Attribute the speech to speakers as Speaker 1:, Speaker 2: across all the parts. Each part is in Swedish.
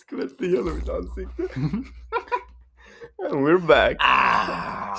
Speaker 1: skvätte genom mitt ansikte. And we're back.
Speaker 2: Ah!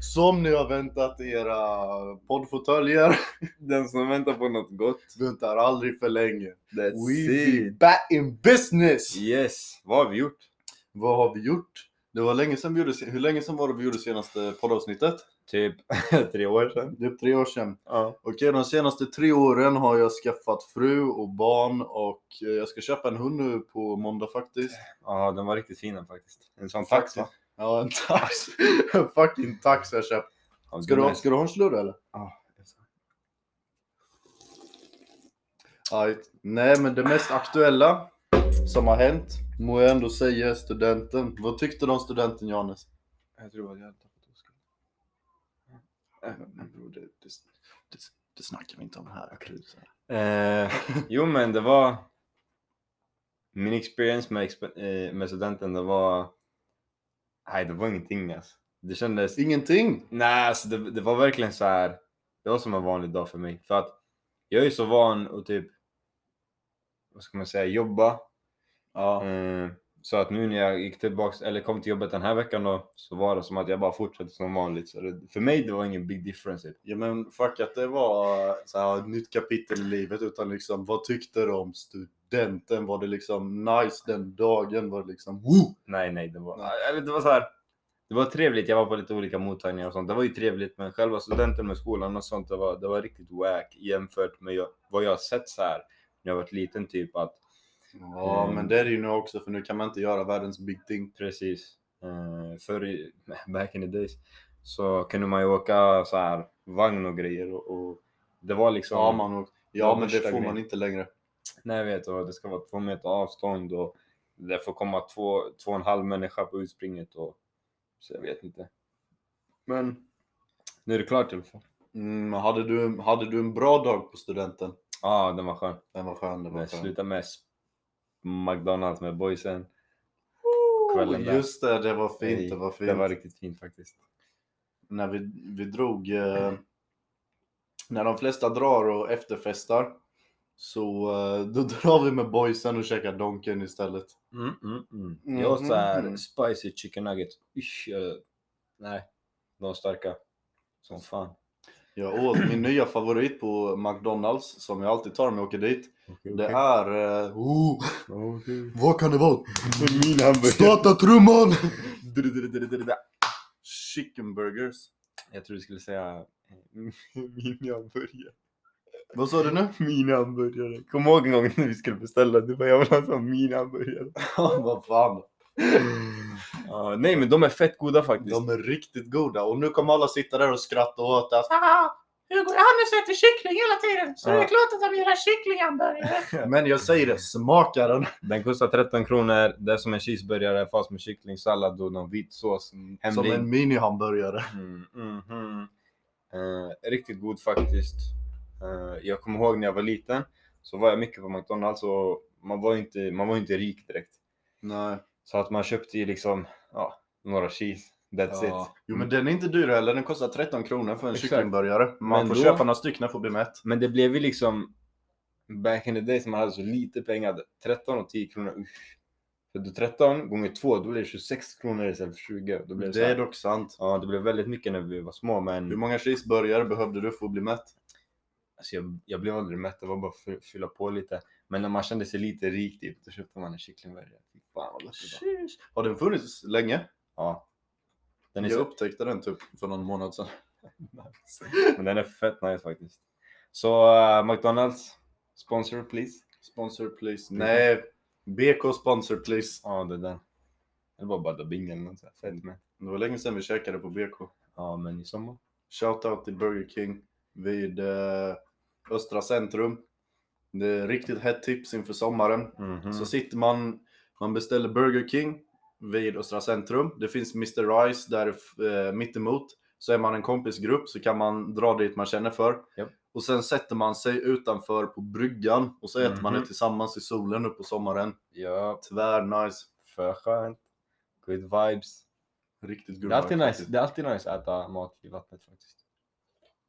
Speaker 2: Som ni har väntat i era poddfåtöljer.
Speaker 1: Den som väntar på något gott.
Speaker 2: Väntar aldrig för länge.
Speaker 1: That's
Speaker 2: We be
Speaker 1: it.
Speaker 2: back in business!
Speaker 1: Yes, vad har vi gjort?
Speaker 2: Vad har vi gjort? Det var länge sedan vi gjorde, se- hur länge sedan var det vi gjorde senaste poddavsnittet?
Speaker 1: Typ tre år sedan.
Speaker 2: Det är tre år sedan.
Speaker 1: Ja.
Speaker 2: Okej, de senaste tre åren har jag skaffat fru och barn och eh, jag ska köpa en hund nu på måndag faktiskt.
Speaker 1: Ja, den var riktigt fin faktiskt. En sån tax va?
Speaker 2: Ja, en tax. En fucking tax har jag köpt.
Speaker 1: Ja,
Speaker 2: Ska du,
Speaker 1: den
Speaker 2: ha,
Speaker 1: är-
Speaker 2: ska du ha en slurr eller?
Speaker 1: Ja.
Speaker 2: Aj. Nej, men det mest aktuella som har hänt må jag ändå säga är studenten. Vad tyckte du om studenten Johannes?
Speaker 1: Jag tror att jag hade tappat oskuld.
Speaker 2: Det, det, det, det snackar vi inte om här.
Speaker 1: Eh, jo men det var... Min experience med, exp- eh, med studenten det var... Nej det var ingenting alltså. Det kändes...
Speaker 2: Ingenting!
Speaker 1: Nej alltså det, det var verkligen så här. Det var som en vanlig dag för mig. För att jag är så van att typ... Vad ska man säga? Jobba.
Speaker 2: Ja.
Speaker 1: Eh, så att nu när jag gick tillbaks, eller kom till jobbet den här veckan då. Så var det som att jag bara fortsatte som vanligt. Så det, för mig det var ingen big difference. Typ.
Speaker 2: ja, men fuck att det var så här, ett nytt kapitel i livet utan liksom vad tyckte du om studenten? Var det liksom nice den dagen? Var det liksom woo?
Speaker 1: Nej, nej, det var,
Speaker 2: Nej.
Speaker 1: Eller, det var så här. Det var trevligt, jag var på lite olika mottagningar och sånt. Det var ju trevligt, men själva studenten med skolan och sånt, det var, det var riktigt wack jämfört med jag, vad jag har sett så här när jag varit liten. Typ att
Speaker 2: Ja,
Speaker 1: Mm.
Speaker 2: men det är det ju nu också för nu kan man inte göra världens big thing.
Speaker 1: precis eh, förr, i- back in the days, så kunde man ju åka så här vagn och grejer och, och det var liksom.
Speaker 2: Ja, man, ja
Speaker 1: Ja,
Speaker 2: men
Speaker 1: värsta
Speaker 2: det får man
Speaker 1: grejen.
Speaker 2: inte längre.
Speaker 1: Nej, jag vet och det ska vara två meter avstånd och det får komma två, två och en halv människa på utspringet och så jag vet inte. Men nu är det klart i alla fall.
Speaker 2: Mm, hade, du, hade du en bra dag på studenten?
Speaker 1: Ja, den var skön.
Speaker 2: Den var skön, den var
Speaker 1: Den
Speaker 2: skön.
Speaker 1: slutade med sp- McDonalds med boysen. kvällen där.
Speaker 2: Oh, just det, det var
Speaker 1: Nej,
Speaker 2: fint. Det var fint.
Speaker 1: Det var riktigt fint faktiskt.
Speaker 2: När vi, vi drog... Eh, när de flesta drar och efterfestar så eh, då drar vi med boysen och käkar Donken istället.
Speaker 1: Mm, mm, mm.
Speaker 2: Mm,
Speaker 1: Jag åt så här
Speaker 2: mm, mm.
Speaker 1: spicy chicken nuggets. Usch, jag... Nej, de är starka. Som fan.
Speaker 2: Jag åt min nya favorit på McDonalds som jag alltid tar om jag åker dit. Det är... Eh, oh, vad kan det vara?
Speaker 1: Min hamburgare.
Speaker 2: Starta trumman! Chicken burgers.
Speaker 1: Jag tror du skulle säga eh, min hamburgare.
Speaker 2: Vad sa du nu?
Speaker 1: Min hamburgare. Kom ihåg en gång när vi skulle beställa. Du bara, jag vill ha en sån min hamburgare.
Speaker 2: Ja, vad fan.
Speaker 1: Ja, nej, men de är fett goda faktiskt.
Speaker 2: De är riktigt goda och nu kommer alla sitta där och skratta åt det.
Speaker 3: Haha, Hugo Johannes äter kyckling hela tiden, så det
Speaker 1: Ja.
Speaker 3: är klart att han vill ha kycklinghamburgare.
Speaker 2: Men jag säger det, smaka den.
Speaker 1: Den kostar 13 kronor. Det är som en cheeseburgare fast med kycklingsallad och någon vit sås.
Speaker 2: Som en minihamburgare.
Speaker 1: Mm, mm, mm. Eh, riktigt god faktiskt. Eh, jag kommer ihåg när jag var liten så var jag mycket på McDonalds och man var ju inte, man var ju inte rik direkt.
Speaker 2: Nej.
Speaker 1: Så att man köpte ju liksom ja, några cheese. That's
Speaker 2: Ja.
Speaker 1: it.
Speaker 2: Jo men den är inte dyr heller, den kostar 13 kronor för en
Speaker 1: Exakt.
Speaker 2: kycklingburgare. Man
Speaker 1: Men
Speaker 2: får
Speaker 1: då-
Speaker 2: köpa några stycken för att bli mätt.
Speaker 1: Men det blev ju liksom back in the days när man hade så lite pengar. 13 och 10 kronor. Usch. För då 13 gånger 2 då blir det 26 kronor istället för 20. Då blev det,
Speaker 2: Det
Speaker 1: så
Speaker 2: är
Speaker 1: här,
Speaker 2: dock sant.
Speaker 1: Ja, det blev väldigt mycket när vi var små men
Speaker 2: Hur många cheeseburgare behövde du för att bli mätt?
Speaker 1: Alltså jag, jag blev aldrig mätt, det var bara för att fylla på lite. Men när man kände sig lite rik typ, då köpte man en kycklingburgare. Fy fan vad gott det var.
Speaker 2: Sheesh. Har den funnits länge?
Speaker 1: Ja. Den är,
Speaker 2: Jag
Speaker 1: så,
Speaker 2: upptäckte den typ för någon månad sedan.
Speaker 1: men den är fett nice faktiskt. Så eh, McDonalds, sponsor please.
Speaker 2: Sponsor please. Nej, BK sponsor please.
Speaker 1: Ja, det är den. Eller bara Bada Bing eller något sånt. Fett med.
Speaker 2: Det var länge sedan vi käkade på BK.
Speaker 1: Ja, men i sommar.
Speaker 2: Shoutout till Burger King vid eh, Östra Centrum. Det är riktigt hett tips inför sommaren.
Speaker 1: Mhm.
Speaker 2: Så sitter man, man beställer Burger King vid Östra Centrum. Det finns Mr. Rice där eh, mittemot. Så är man en kompisgrupp så kan man dra dit man känner för.
Speaker 1: Japp.
Speaker 2: Och sen sätter man sig utanför på bryggan och så äter man
Speaker 1: Mhm.
Speaker 2: det tillsammans i solen nu på sommaren.
Speaker 1: Ja,
Speaker 2: Tvär nice.
Speaker 1: för skönt. Good vibes.
Speaker 2: Riktigt
Speaker 1: Det
Speaker 2: god
Speaker 1: är, alltid
Speaker 2: vibe
Speaker 1: nice,
Speaker 2: faktiskt.
Speaker 1: det är alltid nice att äta mat i vattnet faktiskt.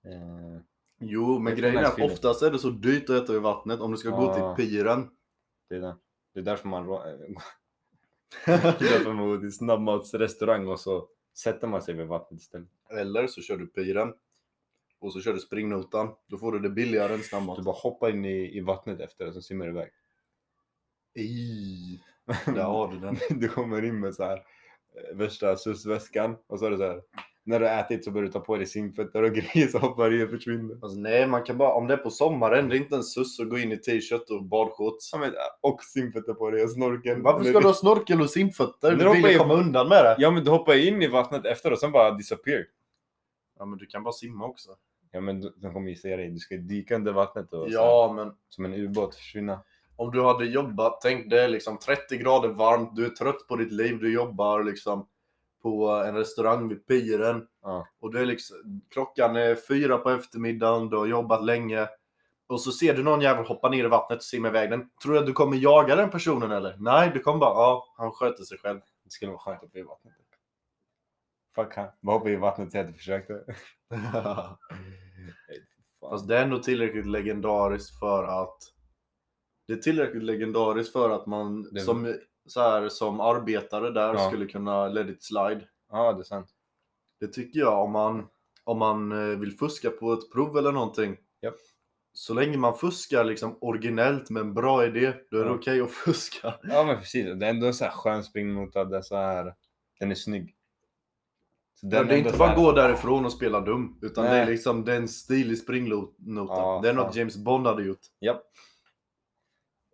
Speaker 1: Eh,
Speaker 2: Jo,
Speaker 1: Det är
Speaker 2: men grejen är
Speaker 1: nice
Speaker 2: att
Speaker 1: feeling.
Speaker 2: oftast är det så dyrt att äta i vattnet om du ska gå
Speaker 1: Ja.
Speaker 2: till piren.
Speaker 1: det är den. Det är därför man... rå- det är därför man går till snabbmatsrestaurang och så sätter man sig vid vattnet istället.
Speaker 2: Eller så kör du piren. Och så kör du springnotan. Då får du det billigare än snabbmat.
Speaker 1: Du bara hoppar in i, i vattnet efter och så simmar du iväg.
Speaker 2: Ej, där har du den.
Speaker 1: Du kommer in med så här eh, värsta susväskan och så är det så här. När du har ätit så börjar du ta på dig simfötter och grejer så hoppar du i och försvinner.
Speaker 2: Alltså, nej, man kan bara, om det är på sommaren, det är inte en suss att gå in i t-shirt och badshorts.
Speaker 1: Ja, men, eh, Och simfötter på dig och snorkeln.
Speaker 2: Varför ska du ha snorkel och simfötter?
Speaker 1: Men
Speaker 2: Du
Speaker 1: hoppa
Speaker 2: vill ju
Speaker 1: i-
Speaker 2: komma undan med det.
Speaker 1: Ja men du hoppar in i vattnet efter och sen bara disappear.
Speaker 2: Ja, men du kan bara simma också.
Speaker 1: Ja men du- de kommer ju se dig. Du ska dyka under vattnet och så här,
Speaker 2: Ja, men
Speaker 1: som en ubåt försvinna.
Speaker 2: om du hade jobbat, tänk det är liksom 30 grader varmt, du är trött på ditt liv, du jobbar liksom på en restaurang vid piren.
Speaker 1: Ja.
Speaker 2: Och du är liksom, klockan är fyra på eftermiddagen, du har jobbat länge. Och så ser du någon jävel hoppa ner i vattnet och simma iväg den. Tror du att du kommer jaga den personen eller? Nej, du kommer bara, ja, han sköter sig själv.
Speaker 1: Det skulle vara skönt att bli i vattnet. Fuck han. Bara hoppa i vattnet tills jag försökte.
Speaker 2: Fast det är ändå tillräckligt legendariskt för att det är tillräckligt legendariskt för att man
Speaker 1: Det-
Speaker 2: som, så här, som arbetare där
Speaker 1: Ja.
Speaker 2: skulle kunna let it slide.
Speaker 1: Ja det är sant.
Speaker 2: Det tycker jag om man, om man eh, vill fuska på ett prov eller någonting.
Speaker 1: Japp.
Speaker 2: Så länge man fuskar liksom originellt med en bra idé, då är det
Speaker 1: Ja.
Speaker 2: okej att fuska.
Speaker 1: Ja men precis. Det är ändå en så här skön springmotor. Det är så här. Den är snygg. Så
Speaker 2: Men det är
Speaker 1: ändå
Speaker 2: inte
Speaker 1: så
Speaker 2: bara
Speaker 1: här-
Speaker 2: gå därifrån och spela dum, utan det är
Speaker 1: Nej.
Speaker 2: liksom den stilig springnota.
Speaker 1: Ja,
Speaker 2: det är något
Speaker 1: fan.
Speaker 2: James Bond hade gjort.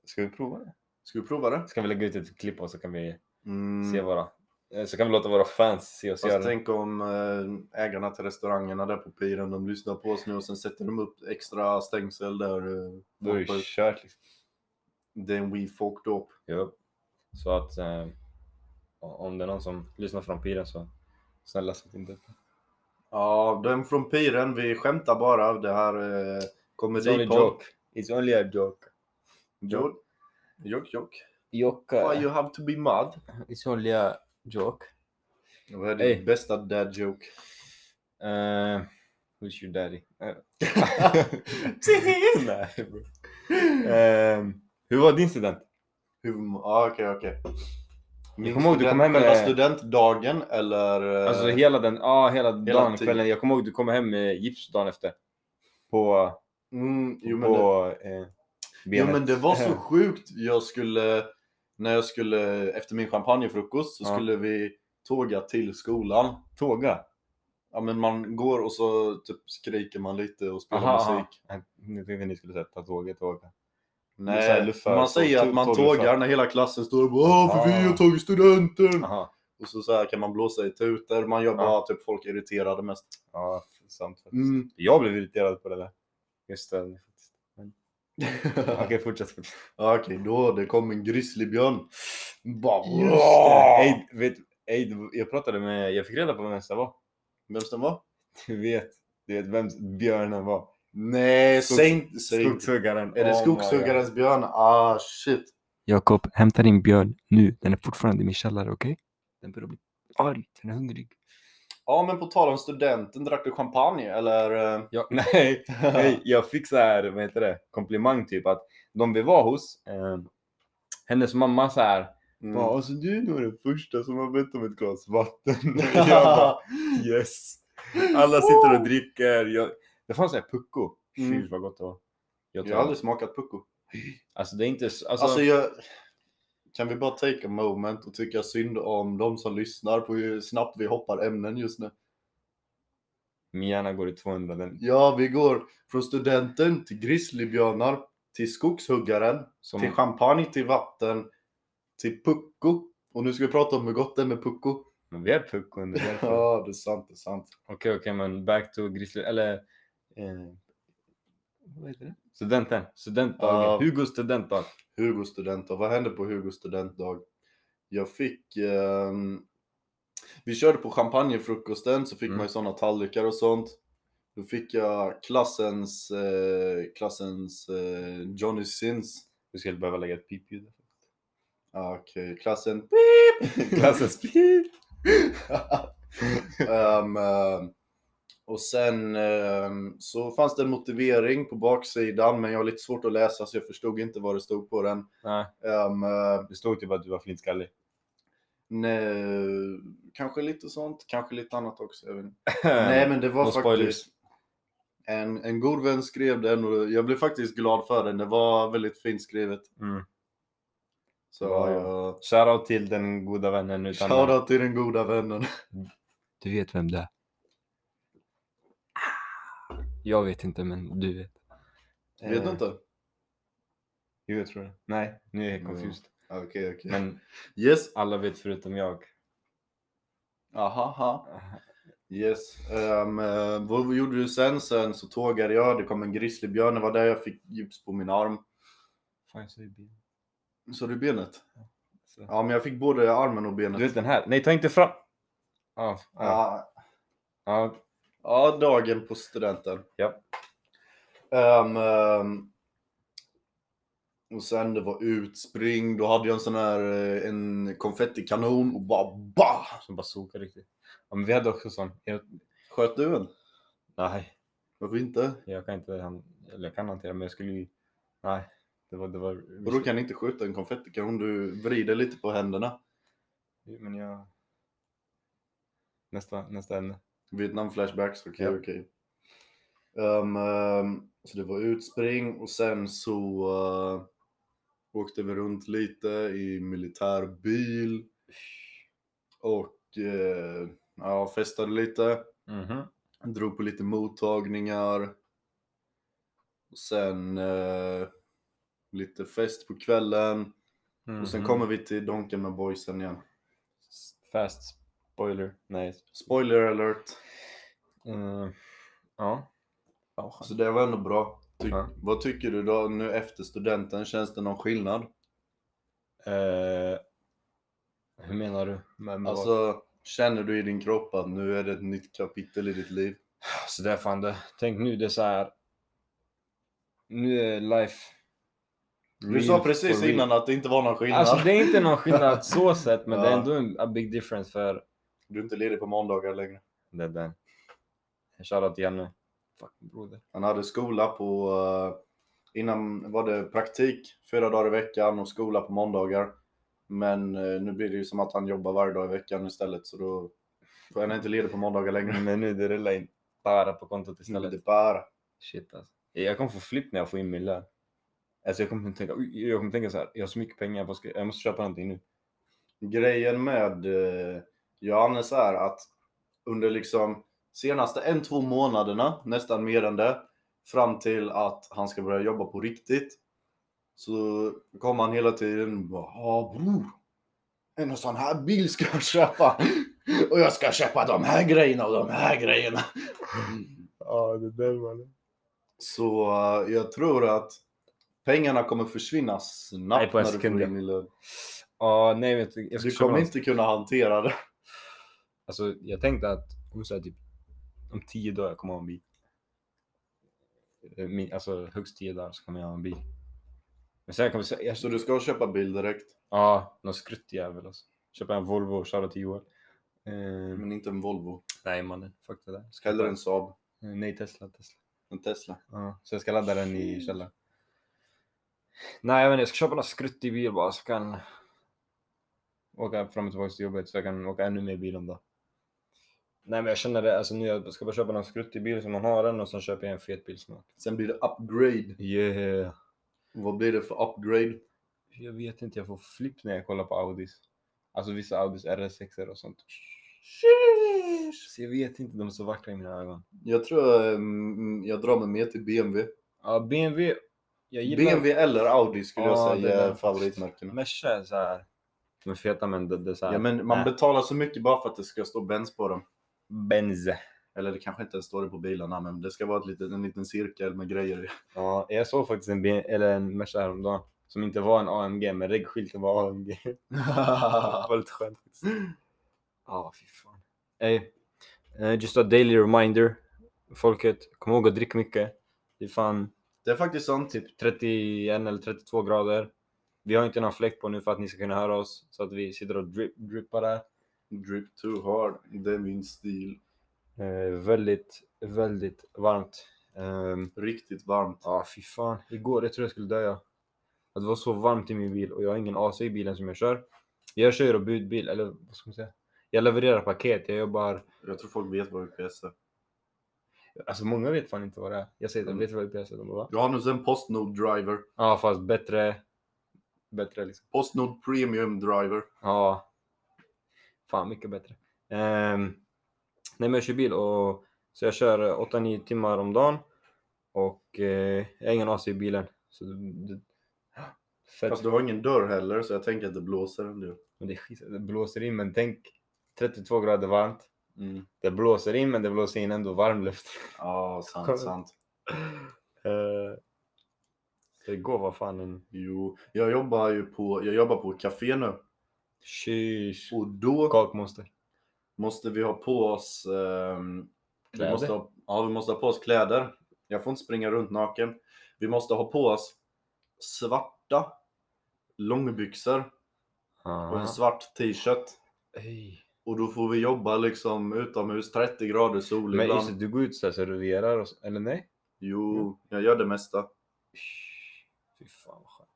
Speaker 1: Ska vi prova det?
Speaker 2: Ska vi prova det?
Speaker 1: Ska vi lägga ut ett klipp och så kan vi
Speaker 2: Mm.
Speaker 1: se våra... eh, Så kan vi låta våra fans se oss
Speaker 2: Fast
Speaker 1: göra det.
Speaker 2: tänk om eh, ägarna till restaurangerna där på piren, de lyssnar på oss nu och sen sätter de upp extra stängsel där. eh,
Speaker 1: Då är det ju
Speaker 2: folk-
Speaker 1: kört liksom.
Speaker 2: Det är en we fucked up.
Speaker 1: Ja. Så att eh, om det är någon som lyssnar från piren så snälla sätt inte upp.
Speaker 2: Ja, den från piren, vi skämtar bara. Det här eh,
Speaker 1: It's only
Speaker 2: komedipodd.
Speaker 1: joke. It's only a joke.
Speaker 2: Joke. Joke, joke. Why
Speaker 1: Joke.
Speaker 2: you have to be mad?
Speaker 1: It's only a joke.
Speaker 2: Vad är
Speaker 1: Hey.
Speaker 2: ditt bästa dad joke?
Speaker 1: Eh, who's your daddy? Eh, Nej bro. Ehm, hur var din student?
Speaker 2: Hur- Ja, okej, okej. Min
Speaker 1: kommer ihåg, du
Speaker 2: student-
Speaker 1: kom hem med-
Speaker 2: Själva studentdagen eller? eh,
Speaker 1: Alltså hela den, ja hela dagen,
Speaker 2: tiden.
Speaker 1: kvällen. Jag kommer ihåg du kom hem med gips dagen efter. På,
Speaker 2: mm, jo, men det-
Speaker 1: på eh,
Speaker 2: Ja
Speaker 1: benet.
Speaker 2: men det var så sjukt. Jag skulle, när jag skulle, efter min champagnefrukost så
Speaker 1: Ja.
Speaker 2: skulle vi tåga till skolan.
Speaker 1: Tåga.
Speaker 2: Ja men man går och så typ skriker man lite och spelar
Speaker 1: Aha, aha.
Speaker 2: musik.
Speaker 1: Nu tänkte jag ni skulle säga ta tåget och åka. Men så här,
Speaker 2: Nej,
Speaker 1: luffar,
Speaker 2: man
Speaker 1: så
Speaker 2: säger
Speaker 1: tå-
Speaker 2: att man
Speaker 1: tågluffar.
Speaker 2: tågar när hela klassen står och bara "Åh, för vi
Speaker 1: Ah.
Speaker 2: har tagit studenten!
Speaker 1: Aha.
Speaker 2: Och så, så här kan man blåsa i tutor, man gör
Speaker 1: Ja.
Speaker 2: bara typ folk irriterade mest.
Speaker 1: Ja, sant. faktiskt.
Speaker 2: Mm.
Speaker 1: Jag blev irriterad på det där. Just det. faktiskt. Okej, fortsätt. fortsätt.
Speaker 2: Okej, då det kom en grizzlybjörn. Bara,
Speaker 1: Just det. Ey, vet, ey, det- jag pratade med, jag fick reda på vem det var.
Speaker 2: Vem den var?
Speaker 1: Du vet, du vet vem björnen var.
Speaker 2: Nej,
Speaker 1: Skogs-
Speaker 2: säg inte... säg inte-
Speaker 1: Skogshuggaren.
Speaker 2: Är det skogshuggarens björn? Ah shit.
Speaker 1: Jakob, hämta din björn nu. Den är fortfarande i min källare, okej? Den börjar bli arg, den är hungrig.
Speaker 2: Ja men på tal om studenten, drack du champagne eller? eh,
Speaker 1: Ja, nej, nej, jag fick så här, vad heter det, komplimang typ att de vi var hos, eh, hennes mamma så här,
Speaker 2: Mm.
Speaker 1: bara, alltså du är nog den första som har bett om ett glas vatten.
Speaker 2: Mm.
Speaker 1: jag bara, Yes! Alla sitter och dricker. Jag... Det fanns en pucko. Fy
Speaker 2: Mm.
Speaker 1: vad gott det var. Jag
Speaker 2: jag
Speaker 1: tror...
Speaker 2: har aldrig smakat pucko.
Speaker 1: Alltså det är inte... s- Alltså...
Speaker 2: Alltså, jag... Kan vi bara take a moment och tycka synd om de som lyssnar på hur snabbt vi hoppar ämnen just nu?
Speaker 1: Min hjärna går i 200. Den...
Speaker 2: Ja, vi går från studenten till grizzlybjörnar, till skogshuggaren,
Speaker 1: Som...
Speaker 2: till champagne, till vatten, till pucko. Och nu ska vi prata om hur gott det är med pucko.
Speaker 1: Men vi är pucko under därför. Okej
Speaker 2: Ja, det är sant, det är sant.
Speaker 1: okej men back to grizzly... Eller... Eh... Vad heter det? Studenten. Studentdagen.
Speaker 2: Ja.
Speaker 1: Hugo studentdag.
Speaker 2: Hugo studentdag. Vad hände på Hugo studentdag? Jag fick... ehm, vi körde på champagnefrukosten så fick
Speaker 1: Mm.
Speaker 2: man ju sådana tallrikar och sånt. Då fick jag klassens, eh, klassens eh, Johnny Sins.
Speaker 1: Du skulle behöva lägga ett pipljud.
Speaker 2: Ah, Okej, klassen...
Speaker 1: Klassens pip!
Speaker 2: Ehm, ehm, Och sen ehm, så fanns det en motivering på baksidan, men jag har lite svårt att läsa så jag förstod inte vad det stod på den.
Speaker 1: Nej,
Speaker 2: Ehm, eh,
Speaker 1: det stod typ att du var flintskallig.
Speaker 2: nej, eh, kanske lite sånt, kanske lite annat också. Jag vet inte. Nej, men det var
Speaker 1: No spoilers.
Speaker 2: faktiskt... En, en god vän skrev den och jag blev faktiskt glad för den. Det var väldigt fint skrivet.
Speaker 1: Mm.
Speaker 2: Så
Speaker 1: Ja,
Speaker 2: jag...
Speaker 1: Shoutout till den goda vännen utan
Speaker 2: Shoutout till den goda vännen.
Speaker 1: Du vet vem det är. Ah. Jag vet inte, men du vet.
Speaker 2: Vet du inte?
Speaker 1: Jo, jag Eh, tror det. Nej, nu är jag
Speaker 2: Mm.
Speaker 1: confused.
Speaker 2: Okej, okej.
Speaker 1: Men
Speaker 2: Yes.
Speaker 1: alla vet förutom jag.
Speaker 2: Aha, ha. Yes. Ehm, eh, vad gjorde du sen? Sen så tågade jag, det kom en grizzlybjörn, det var där jag fick gips på min arm.
Speaker 1: Fan, jag säger ben.
Speaker 2: Så du benet?
Speaker 1: Så.
Speaker 2: Ja, men jag fick både armen och benet.
Speaker 1: Du vet den här? Nej, ta inte fram! Ja, ja,
Speaker 2: Ja,
Speaker 1: ja.
Speaker 2: ja, dagen på studenten.
Speaker 1: Japp.
Speaker 2: Ehm, ehm, och sen det var utspring, då hade jag en sån här eh, en konfettikanon och bara bah!
Speaker 1: Som bazooka riktigt. Ja, men vi hade också sån. Jag...
Speaker 2: Sköt du en?
Speaker 1: Nej,
Speaker 2: Varför inte?
Speaker 1: jag kan inte han... Eller jag kan hantera, men jag skulle ju... Nej, det var... Det var...
Speaker 2: Och då kan ni inte skjuta en konfettikanon, du vrider lite på händerna.
Speaker 1: Men jag... Nästa, nästa ämne.
Speaker 2: Vietnam-flashbacks, okej
Speaker 1: Ja.
Speaker 2: okej. Ehm, ehm, så det var utspring och sen så eh, åkte vi runt lite i militärbil. Och eh, ja, festade lite,
Speaker 1: Mhm.
Speaker 2: drog på lite mottagningar. Och sen eh, lite fest på kvällen. Och sen
Speaker 1: Mhm.
Speaker 2: kommer vi till Donken med boysen igen.
Speaker 1: Fast spoiler. Nej.
Speaker 2: Spoiler alert!
Speaker 1: Mm. Ja.
Speaker 2: Så det var ändå bra. Ty-
Speaker 1: Ja.
Speaker 2: Vad tycker du då nu efter studenten? Känns det någon skillnad?
Speaker 1: Eh, hur menar du? Med, med vad?
Speaker 2: Alltså, känner du i din kropp att nu är det ett nytt kapitel i ditt liv?
Speaker 1: alltså det är fan det. Tänk nu det är så här. Nu är life.
Speaker 2: Du
Speaker 1: real
Speaker 2: sa
Speaker 1: for
Speaker 2: precis
Speaker 1: real.
Speaker 2: innan att det inte var någon skillnad.
Speaker 1: Alltså det är inte någon skillnad så sett men det är
Speaker 2: Ja.
Speaker 1: ändå en a big difference för
Speaker 2: Du är inte ledig på måndagar längre.
Speaker 1: det där. Shoutout till Janne. Fuck broder.
Speaker 2: Han hade skola på... eh, Innan var det praktik fyra dagar i veckan och skola på måndagar. Men eh, nu blir det ju som att han jobbar varje dag i veckan istället så då... För han är inte ledig på måndagar längre.
Speaker 1: Men nu det rullar in bara på kontot
Speaker 2: Nu blir
Speaker 1: istället.
Speaker 2: det bara...
Speaker 1: Shit alltså. Jag kommer få flipp när jag får in min lön. Alltså jag kommer tänka, oj, jag kommer tänka så här. Jag har så mycket pengar, vad ska- jag måste köpa någonting nu.
Speaker 2: grejen med eh, Johannes är att under liksom senaste en, två månaderna, nästan mer än det, fram till att han ska börja jobba på riktigt, så kommer han hela tiden och bara ja bror, en sån här bil ska jag köpa och jag ska köpa de här grejerna och de här grejerna.
Speaker 1: Ja det där mannen.
Speaker 2: Så eh, jag tror att pengarna kommer försvinna snabbt
Speaker 1: Nej, på en
Speaker 2: när du
Speaker 1: sekund,
Speaker 2: får
Speaker 1: ja.
Speaker 2: in i lön.
Speaker 1: Ja nej vet du. Jag ska
Speaker 2: Du
Speaker 1: köpa
Speaker 2: kommer
Speaker 1: något.
Speaker 2: inte kunna hantera det.
Speaker 1: Alltså jag tänkte att om så här, typ om tio dagar kommer jag ha en bil. Eh, Min, alltså högst tio dagar så kommer jag ha en bil. Men sen kommer jag säga, jag,
Speaker 2: Så du ska köpa bil direkt.
Speaker 1: ja, någon skruttjävel alltså. Köpa en Volvo och köra till Joel. Eh,
Speaker 2: Men inte en Volvo.
Speaker 1: nej mannen, fuck det där. Ska
Speaker 2: Hellre
Speaker 1: bara-
Speaker 2: en Saab.
Speaker 1: Eh, Nej Tesla, Tesla.
Speaker 2: En Tesla.
Speaker 1: Ja, så jag ska ladda den i källaren. Nej, jag vet inte, jag ska köpa någon skruttig bil bara så jag kan åka fram och tillbaka till jobbet så jag kan åka ännu mer bil om dagen. Nej, men jag känner det. Alltså nu jag ska bara köpa någon skruttig bil som man har den och sen köper jag en fet bil snart.
Speaker 2: Sen blir det upgrade.
Speaker 1: Yeah.
Speaker 2: Vad blir det för upgrade?
Speaker 1: Jag vet inte, jag får flipp när jag kollar på Audis. Alltså vissa Audis RS6 och sånt. Så jag vet inte, de är så vackra i mina ögon.
Speaker 2: Jag tror mm, jag drar mig mer till BMW.
Speaker 1: Ja, BMW. Jag gillar...
Speaker 2: BMW eller Audi skulle
Speaker 1: Ja,
Speaker 2: jag
Speaker 1: det
Speaker 2: säga
Speaker 1: där.
Speaker 2: är favoritmärkena.
Speaker 1: Merca är såhär. De är feta men det, det är såhär.
Speaker 2: Ja, men man
Speaker 1: Nä.
Speaker 2: betalar så mycket bara för att det ska stå Benz på dem.
Speaker 1: Benz.
Speaker 2: Eller det kanske inte ens står det på bilarna, men det ska vara ett litet, en liten cirkel med grejer i.
Speaker 1: Ja, jag såg faktiskt en, B- eller en Merca häromdagen som inte var en AMG, men reggskylten var AMG. det var lite skönt faktiskt. Ja, fy fan. Hey, eh, just a daily reminder. Folket, kom ihåg att dricka mycket. Det är fan
Speaker 2: Det är faktiskt sant.
Speaker 1: typ 31 eller 32 grader. Vi har inte någon fläkt på nu för att ni ska kunna höra oss så att vi sitter och drip, drippar där.
Speaker 2: Drip too hard, det är min stil.
Speaker 1: Eh, väldigt, väldigt varmt. Ehm,
Speaker 2: Riktigt varmt.
Speaker 1: Ja, fy fan. Igår, jag tror jag skulle dö. ja. Att det var så varmt i min bil och jag har ingen AC i bilen som jag kör. Jag kör och budbil, eller vad ska man säga? Jag levererar paket, jag jobbar...
Speaker 2: Jag tror folk vet vad UPS är.
Speaker 1: Alltså många vet fan inte vad det är. Jag säger att
Speaker 2: Mm.
Speaker 1: vet du vad UPS är? De bara, va?
Speaker 2: Johannes är en Postnord driver.
Speaker 1: Ja, fast bättre... Bättre liksom.
Speaker 2: Postnord premium driver.
Speaker 1: Ja. Fan, mycket bättre. Ehm, nej, men jag kör bil och så jag kör eh, 8-9 timmar om dagen och eh, jag har ingen AC i bilen. Så det, det, fett.
Speaker 2: Fast Alltså, du har ingen dörr heller så jag tänker att det blåser ändå.
Speaker 1: Men det, är skit, det blåser in, men tänk 32 grader varmt.
Speaker 2: Mm.
Speaker 1: Det blåser in, men det blåser in ändå varm luft.
Speaker 2: Ja, sant, sant.
Speaker 1: Eh, så det går vad fan en...
Speaker 2: Jo, jag jobbar ju på, jag jobbar på ett café nu
Speaker 1: Sheesh.
Speaker 2: och då
Speaker 1: Kakmonster.
Speaker 2: måste vi ha på oss ehm, vi
Speaker 1: Kläder?
Speaker 2: måste ha, Ja, vi måste ha på oss kläder. Jag får inte springa runt naken. Vi måste ha på oss svarta långbyxor och en
Speaker 1: Ah.
Speaker 2: svart t-shirt.
Speaker 1: Ej.
Speaker 2: Och då får vi jobba liksom utomhus 30 grader sol
Speaker 1: Men
Speaker 2: ibland.
Speaker 1: just det, du går ut så här serverar och... s- Eller nej?
Speaker 2: Jo, jag gör det mesta.
Speaker 1: Fy fan vad skönt.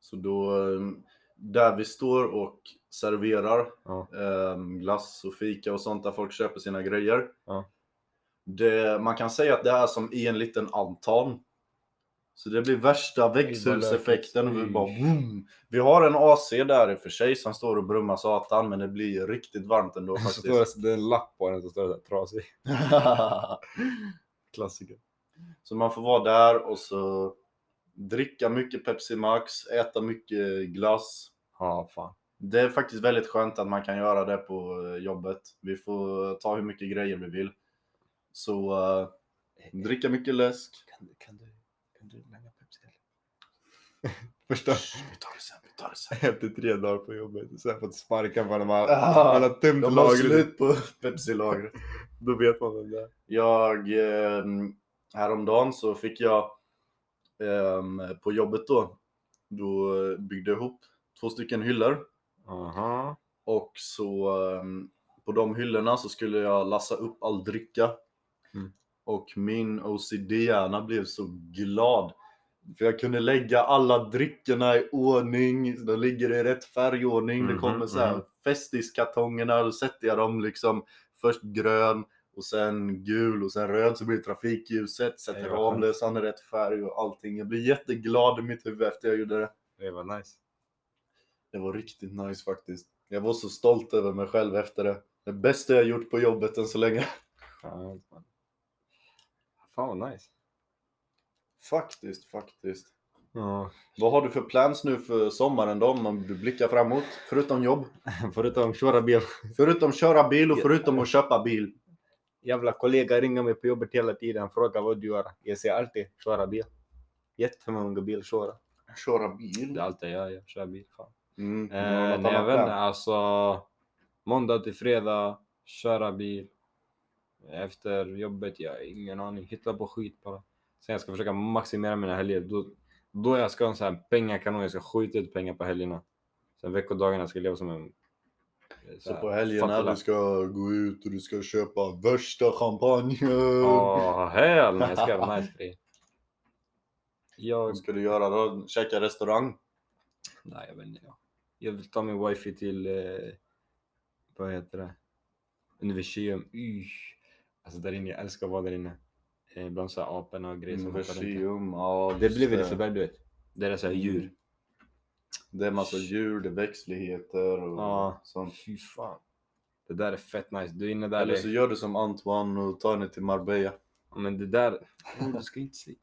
Speaker 2: Så då, ehm, där vi står och serverar
Speaker 1: Ja.
Speaker 2: ehm, glass och fika och sånt där folk köper sina grejer.
Speaker 1: Ja.
Speaker 2: Det, man kan säga att det är som i en liten altan. Så det blir värsta växthuseffekten. och Vi,
Speaker 1: lökigt.
Speaker 2: bara, vroom. vi har en AC där i och för sig som står och brummar satan, men det blir riktigt varmt ändå
Speaker 1: Så står
Speaker 2: faktiskt.
Speaker 1: det, det är en lapp på den som står såhär trasig.
Speaker 2: Klassiker. Så man får vara där och så dricka mycket Pepsi Max, äta mycket glass.
Speaker 1: Ja, fan.
Speaker 2: Det är faktiskt väldigt skönt att man kan göra det på eh, jobbet. Vi får ta hur mycket grejer vi vill. Så eh, dricka mycket läsk.
Speaker 1: Kan, kan du... Kan du lägga Pepsi eller? Första...
Speaker 2: Shh, Vi tar det sen, vi tar det sen.
Speaker 1: Efter tre dagar på jobbet. Sen fått sparka på när man,
Speaker 2: Ah,
Speaker 1: man har tömt
Speaker 2: De har
Speaker 1: lagret.
Speaker 2: slut på Pepsi-lagret.
Speaker 1: Då vet man vem det är.
Speaker 2: Jag, eh, häromdagen så fick jag eh, på jobbet då, då eh, byggde jag ihop två stycken hyllor
Speaker 1: Aha.
Speaker 2: och så eh, på de hyllorna så skulle jag lassa upp all dricka.
Speaker 1: Mm.
Speaker 2: Och min OCD-hjärna blev så glad. För jag kunde lägga alla drickorna i ordning, de ligger i rätt färgordning. det
Speaker 1: Mhm,
Speaker 2: kommer så här
Speaker 1: mhm.
Speaker 2: festiskartongerna, då sätter jag dem liksom först grön och sen gul och sen röd så blir det trafikljuset, sätter
Speaker 1: Ej, vad
Speaker 2: om
Speaker 1: skönt.
Speaker 2: det, sen i rätt färg och allting. Jag blev jätteglad i mitt huvud efter jag gjorde det.
Speaker 1: Det var nice.
Speaker 2: Det var riktigt nice faktiskt. Jag var så stolt över mig själv efter det. Det bästa jag gjort på jobbet än så länge.
Speaker 1: Skönt man. Fan vad nice.
Speaker 2: Faktiskt, faktiskt.
Speaker 1: Ja.
Speaker 2: Vad har du för plans nu för sommaren då om du blickar framåt? Förutom jobb,
Speaker 1: Förutom köra bil.
Speaker 2: förutom köra bil och förutom att köpa bil.
Speaker 1: Jävla kollega ringer mig på jobbet hela tiden frågar vad du gör. Jag säger alltid köra bil. Jättemånga bilköra.
Speaker 2: Köra
Speaker 1: Det
Speaker 2: bil?
Speaker 1: är allt jag gör, jag kör bil. Fan.
Speaker 2: Mm,
Speaker 1: Eh,
Speaker 2: har du något
Speaker 1: nej, jag
Speaker 2: annat
Speaker 1: vet
Speaker 2: plan?
Speaker 1: inte, alltså. Måndag till fredag, köra bil. Efter jobbet, jag har ingen aning. Hitta på skit bara. Sen jag ska försöka maximera mina helger. Då, då jag ska ha en sån här pengakanon, jag ska skjuta ut pengar på helgerna. Sen veckodagarna ska jag leva som en... eh,
Speaker 2: Så
Speaker 1: här,
Speaker 2: på helgerna
Speaker 1: fattig
Speaker 2: du ska gå ut och du ska köpa värsta champagnen.
Speaker 1: Ja, hell nej, jag ska göra nice grejer. Jag...
Speaker 2: Vad ska du göra då? Käka restaurang?
Speaker 1: Nej, jag vet inte. jag- Jag vill ta min wifi till... Eh, vad heter det? Universium. Uy. Alltså där inne, jag älskar att vara där inne. Eh, bland så här aporna och grejer som hoppar runt.
Speaker 2: Verseum, Mm, ja.
Speaker 1: Det blir liksom
Speaker 2: just
Speaker 1: väl i Liseberg, du vet. Där det är så här djur.
Speaker 2: Det är massa djur, det är växtligheter och
Speaker 1: Ja.
Speaker 2: sånt.
Speaker 1: Fy fan. Det där är fett nice. Du är inne där.
Speaker 2: Mm. Eller
Speaker 1: det-
Speaker 2: så gör du som Antoine och tar henne till Marbella.
Speaker 1: Ja, Men det där... Oh, du ska inte se.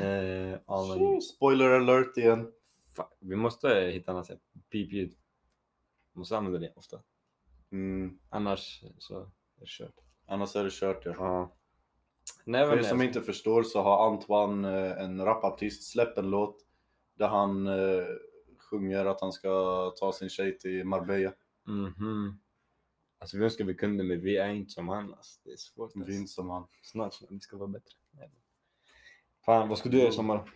Speaker 1: Eh, ja, men,
Speaker 2: Spoiler alert igen.
Speaker 1: fan. Vi måste eh, hitta annars pipljud. Måste använda det ofta.
Speaker 2: Mm.
Speaker 1: Annars eh, så är det kört.
Speaker 2: Annars är det kört ja.
Speaker 1: Ja. Nej,
Speaker 2: För
Speaker 1: men
Speaker 2: er som
Speaker 1: jag-
Speaker 2: inte förstår så har Antoine, eh, en rapartist, släppt en låt där han eh, sjunger att han ska ta sin tjej till Marbella.
Speaker 1: Mhm. Alltså vi önskar vi kunde men vi är inte som han. Alltså, det är svårt. Alltså.
Speaker 2: Vind som han.
Speaker 1: Snart, snart, vi ska vara bättre. Fan, vad ska du göra i sommar?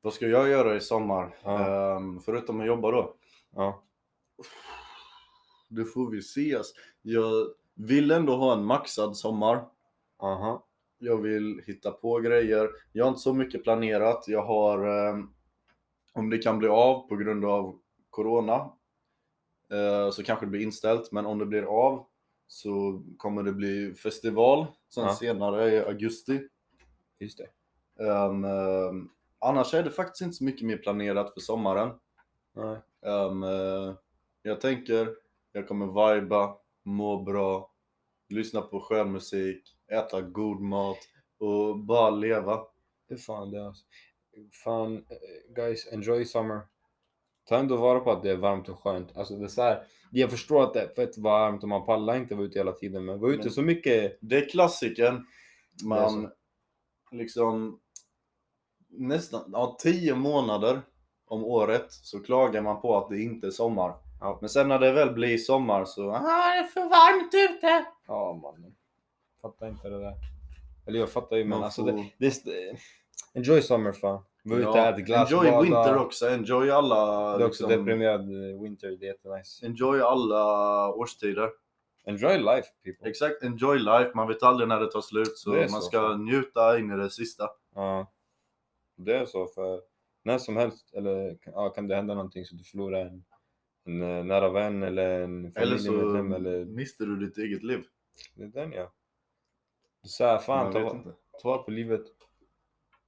Speaker 2: Vad ska jag göra i sommar?
Speaker 1: Ja.
Speaker 2: Ehm, förutom att jobba då?
Speaker 1: Ja.
Speaker 2: Det får vi ses. Jag Vill ändå ha en maxad sommar.
Speaker 1: Aha.
Speaker 2: Jag vill hitta på grejer. Jag har inte så mycket planerat. Jag har, eh, om det kan bli av på grund av corona, eh, så kanske det blir inställt. Men om det blir av så kommer det bli festival sen
Speaker 1: Ja.
Speaker 2: senare i augusti.
Speaker 1: Just det.
Speaker 2: Ehm, ehm, annars är det faktiskt inte så mycket mer planerat för sommaren.
Speaker 1: Nej.
Speaker 2: Ehm, eh, jag tänker, jag kommer viba, må bra, lyssna på skön musik, äta god mat och bara leva.
Speaker 1: Det är fan det alltså. Fan, eh, guys, enjoy summer. Ta ändå vara på att det är varmt och skönt. Alltså det är så här, jag förstår att det är fett varmt och man pallar inte vara ute hela tiden, men var ute
Speaker 2: Men-
Speaker 1: så mycket.
Speaker 2: Det är klassiken.
Speaker 1: Det är
Speaker 2: Man
Speaker 1: så.
Speaker 2: liksom nästan, ja, tio månader om året så klagar man på att det inte är sommar.
Speaker 1: Ja.
Speaker 2: Men sen när det väl blir sommar så, ah,
Speaker 3: Ja, det är för varmt ute.
Speaker 1: Ja, mannen. Fattar inte det där. Eller jag fattar ju, men
Speaker 2: man
Speaker 1: alltså
Speaker 2: får-
Speaker 1: det, det, är st- eh, Enjoy summer fan. Var ute,
Speaker 2: Ja,
Speaker 1: ät glass,
Speaker 2: Enjoy
Speaker 1: bada.
Speaker 2: winter också, enjoy alla,
Speaker 1: Det är också
Speaker 2: liksom,
Speaker 1: deprimerad eh, winter, det är jättenice.
Speaker 2: enjoy alla årstider.
Speaker 1: Enjoy life people.
Speaker 2: Exakt, enjoy life. Man vet aldrig när det tar slut så
Speaker 1: Det är
Speaker 2: man
Speaker 1: så,
Speaker 2: ska
Speaker 1: fan.
Speaker 2: njuta in i det sista.
Speaker 1: Ja. Det är så för när som helst eller ja, kan det hända någonting så du förlorar en, en eh, nära vän eller en
Speaker 2: Eller så
Speaker 1: familjemedlem eller,
Speaker 2: mister du ditt eget liv.
Speaker 1: det är den ja. Så här, fan
Speaker 2: Man
Speaker 1: ta,
Speaker 2: vet
Speaker 1: va-
Speaker 2: inte.
Speaker 1: ta vara på livet.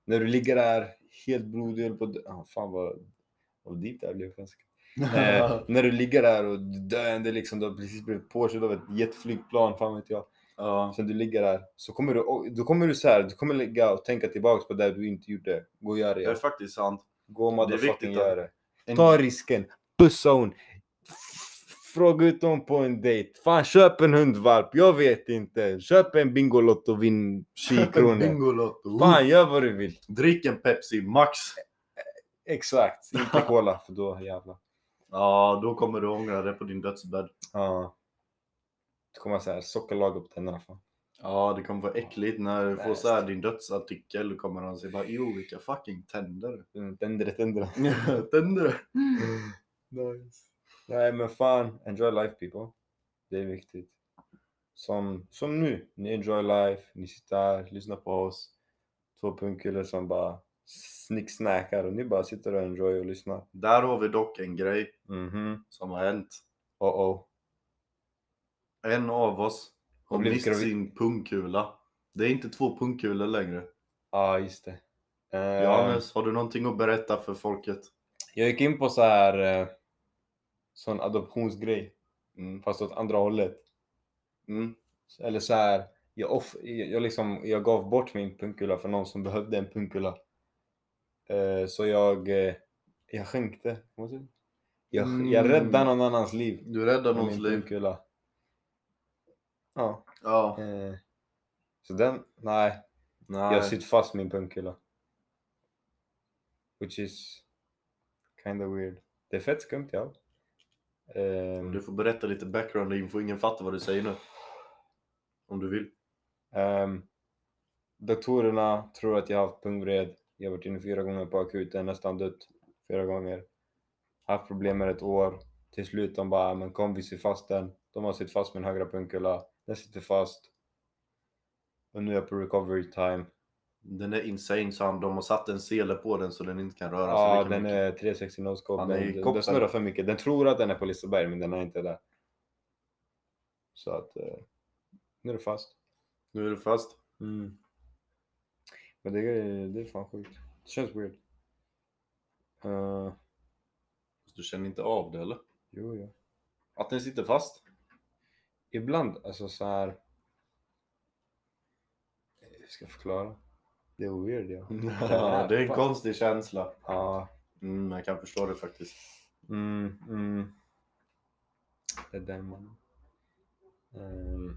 Speaker 1: När du ligger där helt blodig höll på att dö- ah, fan vad, vad deep det här blev ganska. eh, när du ligger där och du döende liksom, du har precis blivit påkörd av ett jetflygplan, fan vet jag.
Speaker 2: ja.
Speaker 1: Sen du ligger där, så kommer du, då kommer du så här, du kommer ligga och tänka tillbaks på det du inte gjorde. Gå och gör det.
Speaker 2: Det är faktiskt sant.
Speaker 1: Gå motherfucking
Speaker 2: viktigt att-
Speaker 1: gör det.
Speaker 2: En-
Speaker 1: Ta risken. Pussa hon. F- Fråga ut hon på en dejt. Fan köp en hundvalp, jag vet inte. Köp en Bingolotto och vinn 10
Speaker 2: Köp en
Speaker 1: kronor.
Speaker 2: Bingolotto.
Speaker 1: Fan gör vad du vill.
Speaker 2: Drick en Pepsi Max.
Speaker 1: Exakt, inte cola för då jävlar.
Speaker 2: Ja, då kommer du ångra det på din dödsbädd.
Speaker 1: Ja. Det kommer så här sockerlag på tänderna fan.
Speaker 2: Ja, det kommer vara äckligt när du får
Speaker 1: Bäst.
Speaker 2: så här din dödsartikel. Då kommer han säga bara, jo vilka fucking tänder.
Speaker 1: Mm, Tänder, tänder.
Speaker 2: tänder.
Speaker 1: nice. Nej men fan, enjoy life people. Det är viktigt. Som, som nu, ni enjoy life, ni sitter här, lyssnar på oss. Två punkkulor som bara snicksnackar och ni bara sitter och enjoy och lyssnar.
Speaker 2: Där har vi dock en grej
Speaker 1: Mhm,
Speaker 2: som har hänt.
Speaker 1: oh oh.
Speaker 2: En av oss har
Speaker 1: Och blivit
Speaker 2: mist
Speaker 1: gravid.
Speaker 2: sin pungkula. Det är inte två pungkulor längre.
Speaker 1: Ja, ah, just det. Eh,
Speaker 2: Johannes, har du någonting att berätta för folket?
Speaker 1: Jag gick in på så här eh, sån adoptionsgrej,
Speaker 2: Mm.
Speaker 1: fast åt andra hållet.
Speaker 2: Mm.
Speaker 1: Eller så här, jag, off, jag, jag liksom, jag gav bort min punkula för någon som behövde en punkula. Eh, så jag, eh, jag skänkte. vad säger du? Jag, jag
Speaker 2: Mm.
Speaker 1: räddade någon annans liv.
Speaker 2: Du räddar
Speaker 1: med
Speaker 2: någons
Speaker 1: min
Speaker 2: liv.
Speaker 1: Punkula. Ja.
Speaker 2: Ja.
Speaker 1: Eh, så den, nej. Jag
Speaker 2: Nej.
Speaker 1: har sytt fast min punkula. Which is kinda weird. Det är fett skumt ja. Ehm,
Speaker 2: Du får berätta lite background info. Ingen fattar vad du säger nu. Om du vill.
Speaker 1: Ehm, doktorerna tror att jag har haft pungvred. Jag har varit inne fyra gånger på akuten, nästan dött fyra gånger. Haft problem med ett år. Till slut de bara, "Ah, men kom vi sitter fast den. De har sitt fast min högra pungkula. Den sitter fast. Och nu är jag på recovery time.
Speaker 2: Den är insane så han, de har satt en sele på den så den inte kan röra sig
Speaker 1: ja,
Speaker 2: lika
Speaker 1: den
Speaker 2: mycket.
Speaker 1: är 360 nose cob.
Speaker 2: Han är i
Speaker 1: Den, den
Speaker 2: koppen.
Speaker 1: snurrar för mycket. Den tror att den är på Liseberg, men den är inte där. Så att, eh, nu är det fast.
Speaker 2: Nu är du fast.
Speaker 1: Mm. Men det är, det är fan sjukt. Det känns weird. Eh,
Speaker 2: Fast Du känner inte av det eller?
Speaker 1: jo, ja.
Speaker 2: Att den sitter fast?
Speaker 1: Ibland, alltså så här. Jag ska förklara. Det är weird, ja.
Speaker 2: Ja, det är en
Speaker 1: fan.
Speaker 2: konstig känsla.
Speaker 1: Ja.
Speaker 2: Mm, jag kan förstå det faktiskt.
Speaker 1: Mm, mm. Det är den man. Ehm,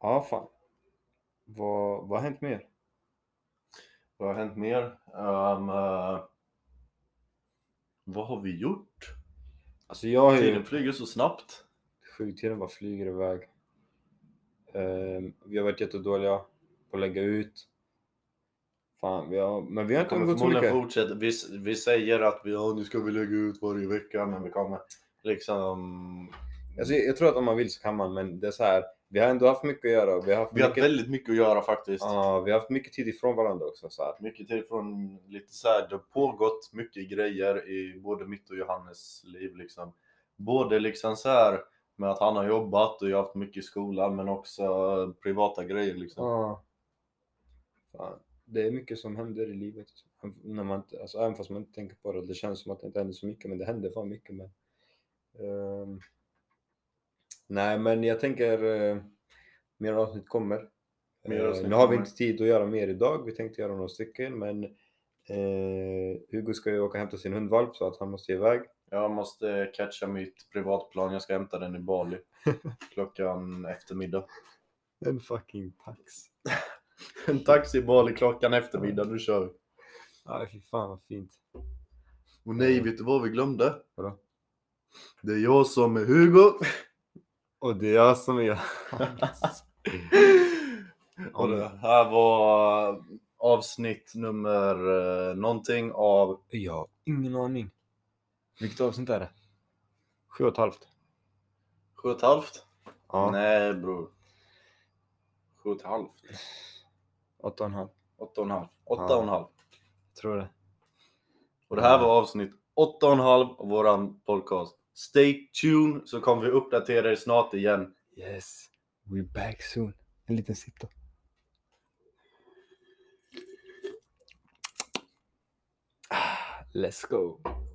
Speaker 1: Ja, fan. Vad, vad har hänt mer?
Speaker 2: Vad har hänt mer? Ehm, eh, vad har vi gjort?
Speaker 1: Alltså jag har ju...
Speaker 2: Tiden flyger så snabbt.
Speaker 1: sjuktiden bara flyger iväg. Ehm, vi har varit jättedåliga på att lägga ut. Fan, vi har, men vi
Speaker 2: Vi
Speaker 1: har inte
Speaker 2: kommer
Speaker 1: umgåtts
Speaker 2: förmodligen
Speaker 1: olika.
Speaker 2: fortsätta. Vi, vi säger att vi, ja, nu ska vi lägga ut varje vecka, men vi kommer liksom
Speaker 1: Alltså, jag tror att om man vill så kan man, men det är så här. Vi har ändå haft mycket att göra. och Vi har haft,
Speaker 2: Vi har haft
Speaker 1: mycket,
Speaker 2: väldigt mycket att göra faktiskt.
Speaker 1: Ja, vi har haft mycket tid ifrån varandra också. Så här.
Speaker 2: Mycket tid från lite så här, det har pågått mycket grejer i både mitt och Johannes liv liksom. Både liksom så här med att han har jobbat och jag har haft mycket i skolan men också eh, privata grejer liksom.
Speaker 1: Ja. Fan. Det är mycket som händer i livet. När man, inte- alltså, även fast man inte tänker på det. Det känns som att det inte händer så mycket, men det händer fan mycket. Men, Ehm, nej, men jag tänker eh, mer avsnitt kommer.
Speaker 2: Mer
Speaker 1: Eh,
Speaker 2: avsnitt
Speaker 1: nu har vi
Speaker 2: kommer.
Speaker 1: inte tid att göra mer idag. Vi tänkte göra några stycken, men eh, Hugo ska ju åka och hämta sin hundvalp så att han måste iväg.
Speaker 2: Jag måste catcha mitt privatplan, jag ska hämta den i Bali klockan eftermiddag.
Speaker 1: En fucking tax.
Speaker 2: En taxi i Bali klockan eftermiddag, nu kör vi.
Speaker 1: Ja, fy fan vad fint.
Speaker 2: Och nej, vet du vad vi glömde?
Speaker 1: Vadå?
Speaker 2: Det är jag som är Hugo.
Speaker 1: Och det är jag som är...
Speaker 2: Och det här var avsnitt nummer eh, någonting av
Speaker 1: Jag har ingen aning. Vilket avsnitt är det? Sju och ett halvt.
Speaker 2: sju och ett halvt?
Speaker 1: Ja.
Speaker 2: Nej bror. Sju och ett halvt?
Speaker 1: Åtta och en halv.
Speaker 2: Åtta och en halv? Åtta
Speaker 1: Ja.
Speaker 2: och en halv.
Speaker 1: Tror det.
Speaker 2: Och det här var avsnitt åtta och en halv av våran podcast. Stay tuned så kommer vi uppdatera er snart igen.
Speaker 1: Yes. We're back soon. En liten sitt då. Ah, Let's go.